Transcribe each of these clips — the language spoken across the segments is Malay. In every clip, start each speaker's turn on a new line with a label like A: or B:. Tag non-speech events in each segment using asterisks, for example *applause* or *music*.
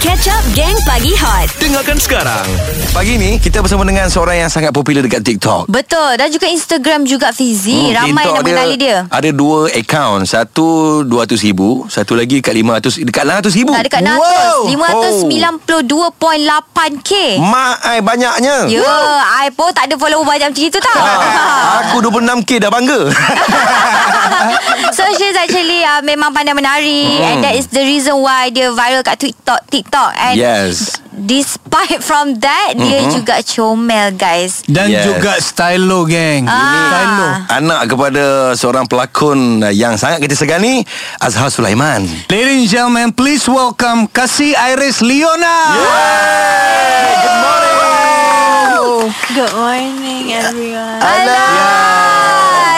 A: Catch Up Gang Pagi Hot
B: Dengarkan sekarang. Pagi ni kita bersama dengan seorang yang sangat popular dekat TikTok.
C: Betul Dan juga Instagram juga Fizi hmm, Ramai
B: TikTok
C: yang mengenali dia,
B: Ada dua account. Satu 200 ribu. Satu lagi dekat 500. Dekat 600 ribu.
C: Tak dekat
B: Oh.
C: 600 592.8k
B: Mak ai banyaknya.
C: Ya I pun tak ada follower banyak macam itu *laughs* tau
B: Ah, aku 26k dah bangga.
C: So she's actually uh, Memang pandai menari And that is the reason why Dia viral kat TikTok TikTok And
B: yes.
C: Despite from that Dia juga comel guys
D: Dan
B: Yes.
D: yes. juga stylo geng.
C: Ah.
D: Stylo.
C: Ha.
B: Anak kepada seorang pelakon yang sangat kita segani, Azhar Sulaiman.
D: Ladies and gentlemen, please welcome Kasih Iris Leona.
B: Good morning.
E: Good morning, everyone.
C: Alah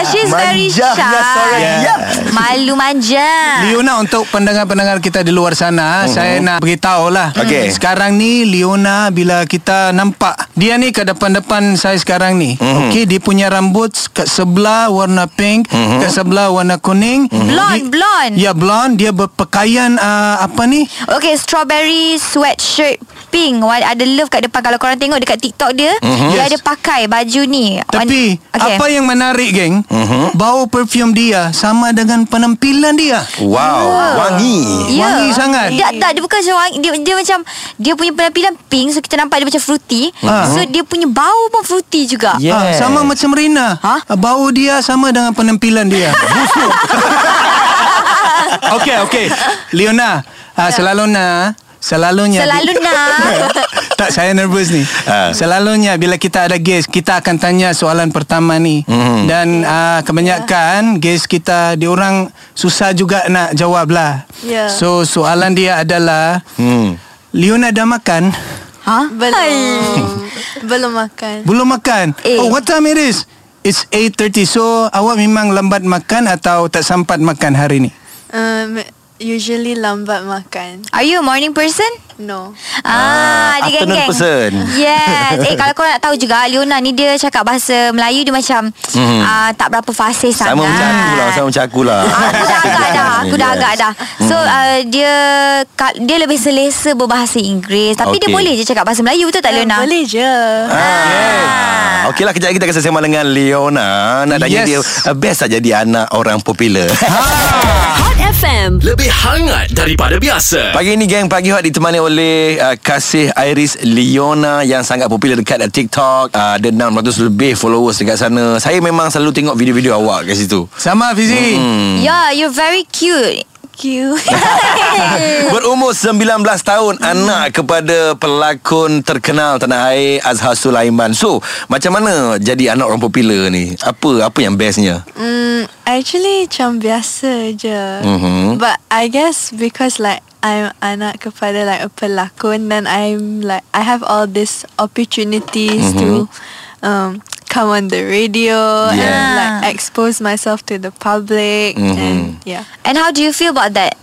C: She's very shy
B: Manjanya seorang yang.
C: Malu manja
D: Leona untuk pendengar-pendengar kita di luar sana uh-huh. Saya nak beritahu lah
B: Okey.
D: Sekarang ni Leona bila kita nampak Dia ni ke depan-depan saya sekarang ni uh-huh. Okey dia punya rambut kat sebelah warna pink uh-huh. Kat sebelah warna kuning uh-huh.
C: Blonde Blonde
D: Ya blonde Dia berpakaian uh, apa ni
C: Okay, strawberry sweatshirt pink. Wal- Ada love kat depan. Kalau korang tengok dekat TikTok dia, mm-hmm. dia
D: Mhm. Yes.
C: ada pakai baju ni.
D: Tapi
C: On- okay.
D: apa yang menarik geng uh-huh. Bau perfume dia sama dengan penampilan dia
B: Wow, wangi.
C: Ya.
D: wangi sangat.
C: Dia, tak, dia bukan seorang dia, dia macam Dia punya penampilan pink So kita nampak dia macam fruity
D: Ah.
C: So dia punya bau pun fruity juga
B: Yes.
D: Ah, sama macam Rina.
C: Hah?
D: Ah, Bau dia sama dengan penampilan dia. Busuk. *laughs* okay, okay. Leona, ah, selalunya selalunya
C: Selalu nak
D: *laughs* tak saya nervous ni.
B: Ah.
D: Selalunya bila kita ada guest, kita akan tanya soalan pertama ni.
B: Mhm.
D: Dan ah, kebanyakan guest kita diorang susah juga nak jawab lah.
E: Ya.
D: So soalan dia adalah
B: Hmm.
D: Leona dah makan?
C: Ha?
E: Belum. *laughs* Belum makan.
D: Belum makan.
C: Eh.
D: Oh, what time it is? It's 8.30. So, awak memang lambat makan atau tak sempat makan hari ni?
E: Um, usually lambat makan.
C: Are you a morning person?
E: No.
C: Ah, dia geng-geng
B: afternoon person.
C: Yes Eh kalau korang nak tahu juga Leona ni dia cakap bahasa Melayu Dia macam mm. uh, Tak berapa fasih sangat
B: Mhm. Sama macam aku lah, sama macam aku lah.
C: Aku dah agak dah Aku dah agak dah So
B: Mhm.
C: uh, dia ka- Dia lebih selesa Berbahasa Inggeris Tapi dia
B: Okey.
C: boleh je Cakap bahasa Melayu Betul tak Leona?
E: Ya, Um, Boleh je.
B: Ah. Okeylah kejap lagi kita akan sesama dengan Leona Nak tanya
D: Yes.
B: dia eh, Best tak jadi anak orang popular
A: Hot FM
F: Lebih hangat daripada biasa.
B: Pagi ni geng Pagi Hot ditemani oleh uh, Kasih Iris Leona Yang sangat popular dekat uh, TikTok uh, Ada 600 lebih followers dekat sana Saya memang selalu tengok video-video awak kat situ
D: Sama, Fizi.
B: Hmm.
C: Yeah Ya, you're very cute Cute
B: Berumur 19 tahun Anak kepada pelakon terkenal Tanah air Azhar Sulaiman So macam mana jadi anak orang popular ni Apa apa yang bestnya
E: Mm, actually macam biasa je.
B: Mhm.
E: But I guess because like I'm anak kepada like a pelakon then I'm like I have all these opportunities to um come on the radio and
B: Yeah.
E: like expose myself to the public and yeah.
C: *laughs* And how do you feel about that?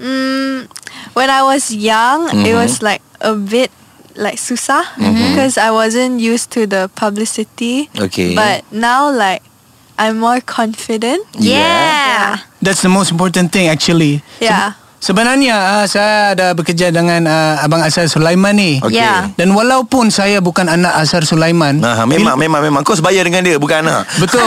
E: Mm, when I was young, it was like a bit like susah because I wasn't used to the publicity.
B: Okay.
E: But now like I'm more confident.
C: Yeah,
D: That's the most important thing, actually.
E: Yeah.
D: Sebenarnya, ah, saya ada bekerja dengan ah, Abang Asar Sulaiman ni.
B: Okey.
C: Yeah.
D: Dan walaupun saya bukan anak Asar Sulaiman.
B: Nah, ha, memang, memang, memang. Kau sebaya dengan dia, bukan anak. *laughs*
D: Betul.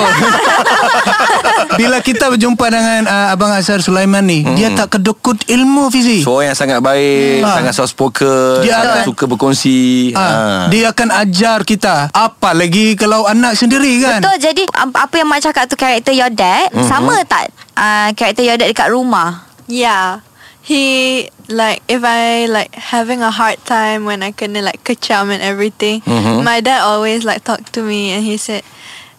D: bila kita berjumpa dengan ah, Abang Asar Sulaiman ni, dia
B: Hmm.
D: tak kedekut ilmu, Fizi.
B: Seorang yang sangat baik,
D: Ah.
B: sangat soft spoken,
D: Dia
B: sangat
D: akan-
B: suka berkongsi. Ha. ya.
D: Ah, dia akan ajar kita apa lagi kalau anak sendiri kan
C: Betul jadi um, Apa yang Mak cakap tu Karakter your dad
B: Mhm.
C: Sama tak uh, Karakter your dad dekat rumah?
E: Yeah. He like if I like having a hard time when I couldn't like kacham and everything,
B: Mm-hmm.
E: my dad always like talked to me and he said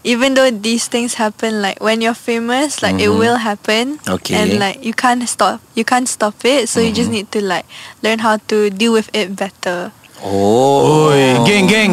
E: even though these things happen like when you're famous like it will happen
B: Mm-hmm. Okay. Mm-hmm.
E: and like you can't stop you can't stop it so you just need to like learn how to deal with it better
B: Oh.
D: Oi, geng geng.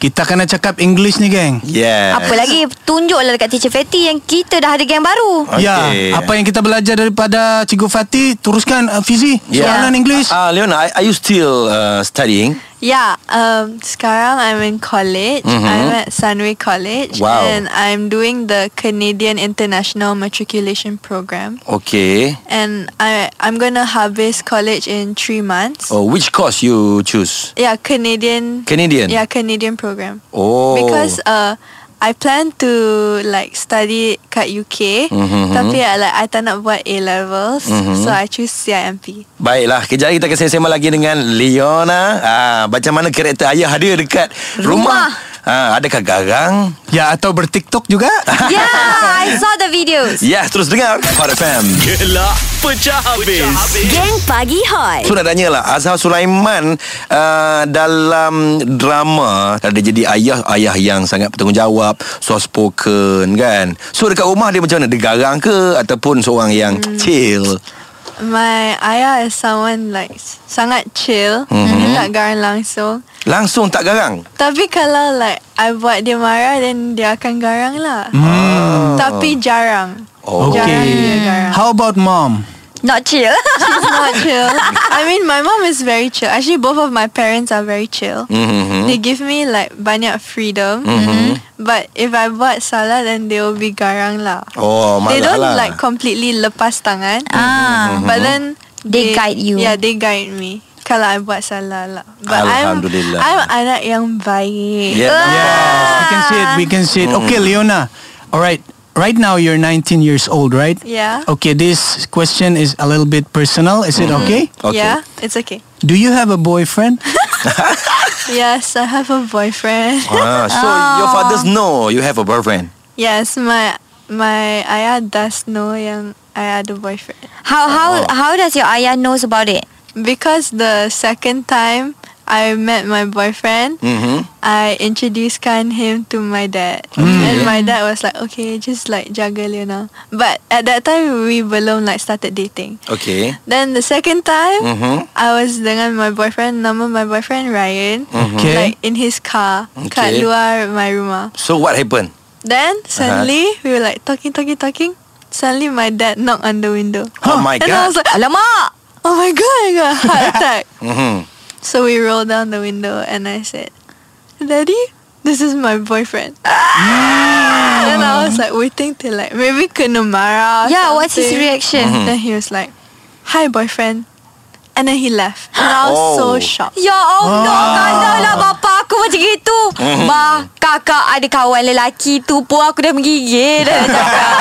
D: Kita kena cakap English ni geng.
B: Yes.
C: Apa lagi Tunjuklah dekat teacher Fatty Yang kita dah ada geng baru *laughs*
B: Okey.
D: Ya, apa yang kita belajar daripada Cikgu Fatih teruskan uh, Fizi
B: Yeah.
D: soalan English.
B: Ah, uh, Leona, are, are you still uh, studying?
E: Yeah, um, sekarang I'm in college. I'm at Sunway College.
B: Mm-hmm. Wow.
E: And I'm doing the Canadian International Matriculation Program.
B: Okay.
E: And I, I'm going to harvest college in three months.
B: Oh, which course you choose?
E: Yeah, Canadian.
B: Canadian?
E: Yeah, Canadian program.
B: Oh.
E: Because uh, I plan to like study kat UK.
B: Mhm,
E: Tapi I, like, I tak nak buat A-levels. So I choose CIMP.
B: Baiklah, kejap lagi kita akan sembang lagi dengan Leona. Ah, macam mana karakter ayah dia dekat rumah?
C: Rumah.
B: Ah, adakah garang?
D: Ya atau bertiktok juga
C: Yeah, Ya, I saw the videos.
B: Ya, terus dengar Hot FM.
F: Gelak pecah habis.
A: Gang Pagi Hot.
B: So dah tanya lah Azhar Sulaiman uh, Dalam drama Dia jadi ayah Ayah yang sangat bertanggungjawab Soft spoken kan So dekat rumah dia macam mana Dia garang ke Ataupun seorang yang
E: Hmm.
B: chill
E: My ayah is someone like sangat chill. Dia tak garang langsung.
B: Langsung tak garang
E: Tapi kalau like I buat dia marah then dia akan garang lah. Hmm. Tapi jarang.
B: Oh.
E: Jarang
D: Okay.
E: dia garang.
D: How about mom?
C: Not *laughs* chill.
E: She's not chill. I mean my mom is very chill. Actually both of my parents are very chill.
B: mm-hmm.
E: They give me like banyak freedom. But if I buat salah then they will be garang lah.
B: Oh malah
E: they don't
B: lah. Mm-hmm.
E: like completely lepas tangan.
C: ah.
E: But then
C: They guide you.
E: Yeah, they guide me. Kalau I buat salah lah. But
B: Alhamdulillah.
E: I'm, I'm anak yang baik.
B: Yeah,
D: Yes,
B: Ah.
D: we can see it. We can see it.
B: Hmm.
D: Okay, Leona. All right. Right now you're 19 years old, right?
E: Yeah.
D: Okay, this question is a little bit personal. Is
B: Mm-hmm.
D: it okay?
B: Okay.
E: Yeah, it's okay.
D: Do you have a boyfriend?
E: Yes, I have a boyfriend.
B: ah, So your fathers know You have a boyfriend
E: yes, my my ayah does know yang I had a boyfriend
C: How how how does your ayah knows about it?
E: because the second time I met my boyfriend,
B: mm-hmm.
E: I introduced him to my dad, and my dad was like, "Okay, just like jaga Leona." But at that time, we belum like started dating.
B: Okay
E: Then the second time,
B: Mhm.
E: I was dengan my boyfriend, nama my boyfriend Ryan,
D: Okay.
E: like in his car, kat
B: Okay.
E: luar my rumah.
B: So what happened
E: Then suddenly we were like talking, talking, talking. Suddenly my dad knocked on the window.
B: Oh my
E: and I was
B: god
E: like,
C: Alamak.
E: oh my god, I got a
B: *laughs*
E: heart attack.
B: mm-hmm.
E: so we rolled down the window and I said, Daddy, this is my
B: *gasps*
E: boyfriend. and I was like waiting till like maybe kena marah. or
C: Yeah, what's his
E: something.
C: reaction?
B: Mm-hmm.
E: Then he was like, "Hi, boyfriend," and then he left, and I was
B: Oh.
E: so shocked.
C: Ya Allah, kalaulah bapa aku macam gitu. Bah, kakak ada kawan lelaki tu pun aku dah *laughs* menggigil dah cakap.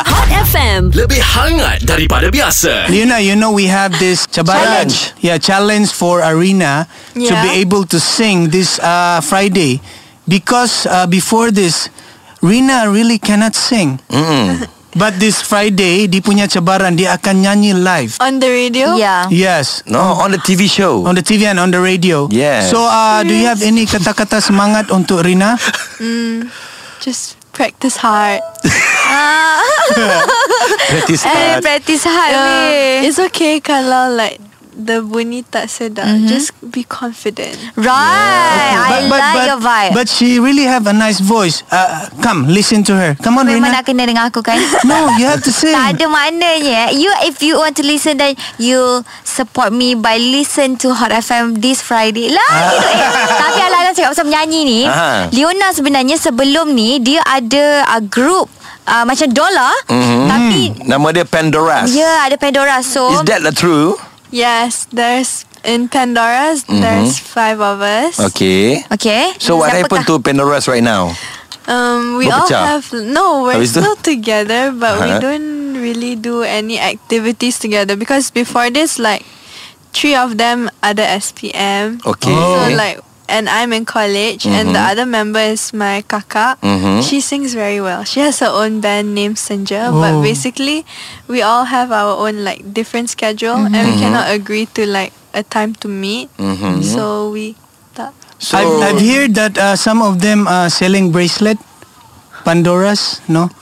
A: Hot FM.
F: Lebih hangat daripada biasa.
D: Leona, you know we have this challenge. Yeah, challenge for Arena to
E: Yeah.
D: be able to sing this uh, Friday because uh, before this, Rina really cannot sing. *laughs* But this Friday, di punya cabaran dia akan nyanyi live.
E: On the radio?
C: Yeah.
D: Yes.
B: No on the TV show
D: On the TV and on the radio.
B: Yes.
D: So, uh, do you have any kata-kata semangat untuk Rina?
E: Just practice hard.
B: Practice
C: Eh,
B: hard
C: practice hard
E: Um,
C: weh.
E: it's okay kalau like the bunyi tak sedap.
C: Mm-hmm.
E: Just be confident.
C: Right. I like
D: but,
C: your vibe.
D: but she really have a nice voice. Uh, come, listen to her. Come on,
C: Memang nak kena
D: Rina.
C: dengan aku *laughs* kan?
D: No, you have to sing.
B: Hmm.
C: Tak ada maknanya You if you want to listen Then you support me By listen to Hot FM This Friday Lah gitu eh Tapi Alang-alang cakap pasal menyanyi ni
B: Ah. Aha.
C: Leona sebenarnya sebelum ni Dia ada uh, group uh, Macam Dollar
B: Mhm.
C: mm-hmm. Tapi
B: Nama dia Pandoras
C: Ya yeah, ada Pandora So
B: Hmm. Is that the true?
E: Yes, there's in Pandora's there's five of us.
B: Mm-hmm. Okay.
C: Okay
B: So what
C: Siapakah?
B: happened to Pandoras right now?
E: Um, we all
B: Berpecah.
E: have no, we're
B: Habis tu?
E: still together, but we
B: Aha.
E: don't really do any activities together because before this, like three of them are the SPM.
B: Okay. Mm-hmm.
E: So like, and I'm in college, and the other member is my kakak.
B: Mhm.
E: She sings very well. She has her own band named Sinja, but
D: Oh.
E: basically, we all have our own like different schedule, and
B: Mm-hmm.
E: we cannot agree to like a time to meet.
B: Mhm.
E: So we. tak-
B: So
D: I've, I've heard that uh, some of them are selling bracelet, Pandoras, no?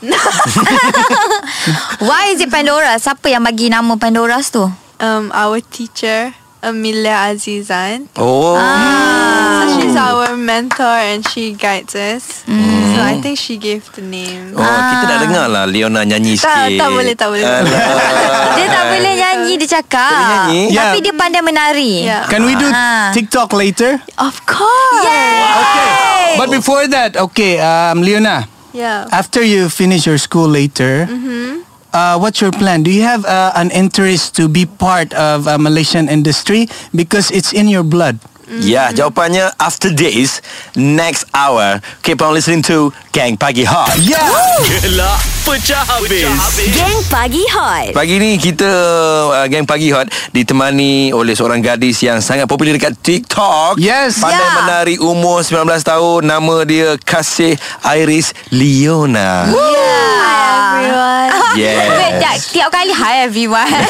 C: Why is it Pandora Siapa yang bagi nama Pandora tu
E: um, our teacher Amelia Azizan.
B: Oh.
E: So She's our mentor and she guides us. So I think she gave the name.
B: Mm-hmm. Oh, ah. kita nak dengar lah Leona nyanyi
E: Tak,
B: sikit. Um,
E: tak boleh, tak boleh.
B: Alah.
C: Dia tak boleh nyanyi Dia cakap
B: Tak Ah. boleh nyanyi? Ya.
D: Yeah.
C: Tapi dia pandai menari
E: *laughs*
A: Ya.
E: Yeah.
D: Can we do
C: Ah.
D: TikTok later?
E: Of course.
C: Eh.
D: Okay. But before that, okay, um, Leona,
E: Yeah.
D: after you finish your school later, uh, what's your plan? Do you have uh, an interest to be part of uh, Malaysian industry because it's in your blood?
E: Mm.
B: Ya, jawapannya after this, next hour. Keep on listening to Gang Pagi Hot.
D: Yeah.
F: Gelak pecah habis.
A: Gang Pagi Hot.
B: Pagi ni kita uh, Gang Pagi Hot Ditemani oleh seorang gadis Yang sangat popular dekat TikTok
D: Yes.
B: Pandai
C: Ya.
B: menari umur 19 tahun Nama dia Kasih Iris Leona
E: Hi everyone.
B: Yes.
C: Wait,
E: ya,
C: tak, Tiap kali Hi everyone
D: *laughs*
C: Ya.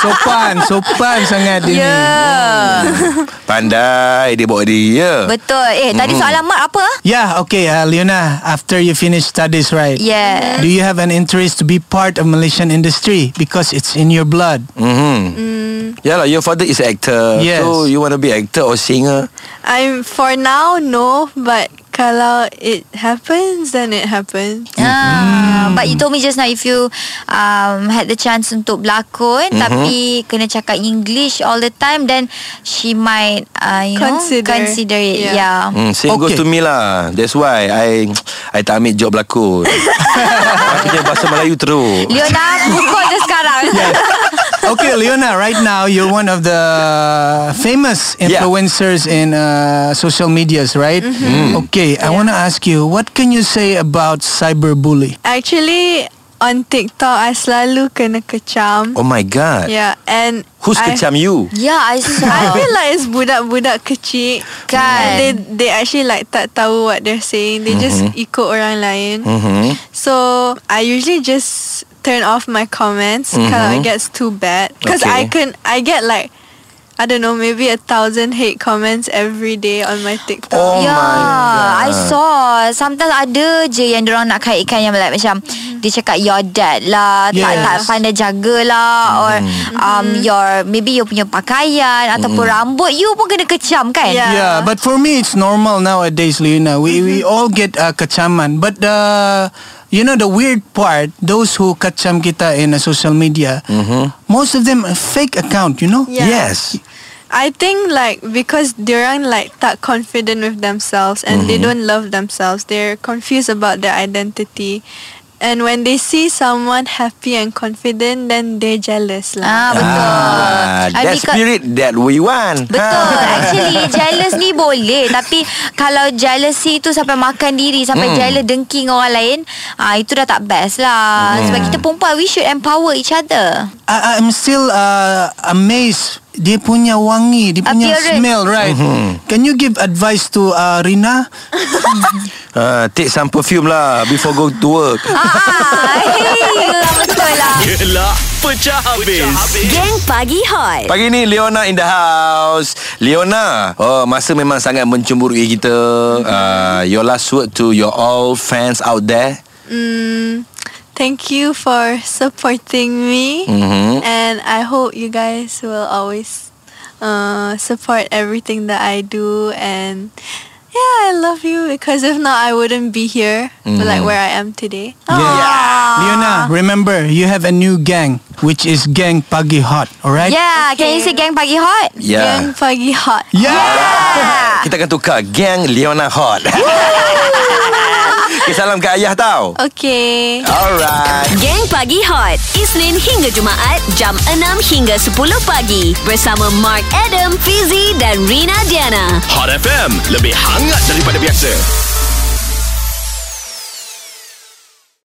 D: sopan, sopan sangat dia ni.
C: Yeah
B: Pandai Dia ya. bawa dia
C: Betul Eh tadi soalan Mat apa?
D: Yeah, okay, uh, Leona, after you finish studies, right?
C: Yeah
D: Do you have an interest to be part of Malaysian industry because it's in your blood?
B: mm-hmm. Yalah your father is an actor
D: Yes.
B: So you want to be actor or singer
E: I'm for now no, but kalau it happens, then it happens.
C: Ah, But you told me just now If you um, Had the chance Untuk berlakon
B: Mm-hmm.
C: Tapi Kena cakap English All the time Then She might uh, You
E: Consider.
C: know Consider it
E: Yeah.
C: Yeah,
B: mm, Same okay. goes
D: Okay.
B: to me lah That's why I I tak ambil job
C: *laughs*
B: berlakon Aku punya bahasa Melayu teruk
C: Leona Pukul je sekarang
D: okay, Leona, right now you're one of the famous
B: Yeah.
D: influencers in uh, social medias, right?
E: Mm-hmm.
D: Mm. Okay, I want to ask you, what can you say about cyberbully?
E: Actually, on TikTok, I selalu kena kecam.
B: Oh my
C: Ya.
B: god
E: Yeah, and
B: Who's
E: I,
B: kecam you?
C: *laughs* Yeah I
E: I
B: Oh.
C: saw
E: feel like it's budak-budak kecil.
C: Kan.
E: They they actually like tak tahu what they're saying. They just ikut orang lain.
B: Mm-hmm.
E: So I usually just turn off my comments kalau it gets too bad. Cause I
B: Mm-hmm. Okay.
E: can I get like I don't know maybe a thousand hate comments every day on my TikTok.
B: Oh
C: yeah,
B: my god.
C: Ya, I saw Sometimes ada je Yang diorang nak kaitkan Yang like, macam Dia cakap your dad lah tak,
D: Yes.
C: tak pandai jaga lah Or
B: Hmm.
C: um, your Maybe your punya pakaian Ataupun
B: Hmm.
C: rambut You pun kena kecam kan
E: Yeah.
B: Ya,
E: Mm-hmm.
D: Yeah, but for me it's normal nowadays, Leona. We we all get uh, kacaman, but uh, you know the weird part, those who kacam kita in uh, social media, most of them are fake account, you know?
E: Mm-hmm. Yeah.
B: Yes.
E: I think like because diorang like tak confident with themselves and they don't love themselves. They're confused about their identity. And when they see someone happy and confident, then they're
C: Ah
E: jealous lah.
C: betul.
B: Ah,
C: Ah,
B: that
C: because-
B: spirit that we want. *laughs*
C: Betul
B: Ha.
C: Actually jealous ni boleh Tapi Kalau jealousy tu Sampai makan diri
B: Hmm.
C: Sampai jealous Dengki dengan orang lain ah Itu dah tak best lah
B: Hmm.
C: Sebab kita perempuan We should empower each other
D: I, I'm still uh, amazed. Dia punya wangi, dia punya
C: Appearance.
D: smell, right? Can you give advice to uh, Rina?
B: Ah, take some perfume lah before go to work.
C: Ah, hey, betul lah
F: Gelak pecah habis.
A: Gang Pagi Hot.
B: Pagi ni Leona in the house. Leona, oh masa memang sangat mencemburui kita. Uh, your last word to your all fans out there.
E: Thank you for supporting me.
B: Mhm.
E: And I hope you guys will always uh, support everything that I do. And yeah, I love you because if not, I wouldn't be here, like where I am today. Oh,
C: Ah.
D: Leona, remember, you have a new gang, which is Gang Pagi Hot, alright?
C: Yeah, Ya, can you say gang pagi hot?
B: Yeah.
E: Young Pagi Hot.
D: Yeah!
B: Ya. Kita akan tukar Gang Leona Hot. *laughs* okay, salam ke ayah tau.
E: Okay.
B: Alright.
A: Gang Pagi Hot. Isnin hingga Jumaat jam 6 hingga 10 pagi bersama Mark Adam, Fizi dan Rina Diana.
F: Hot FM, lebih hangat daripada biasa.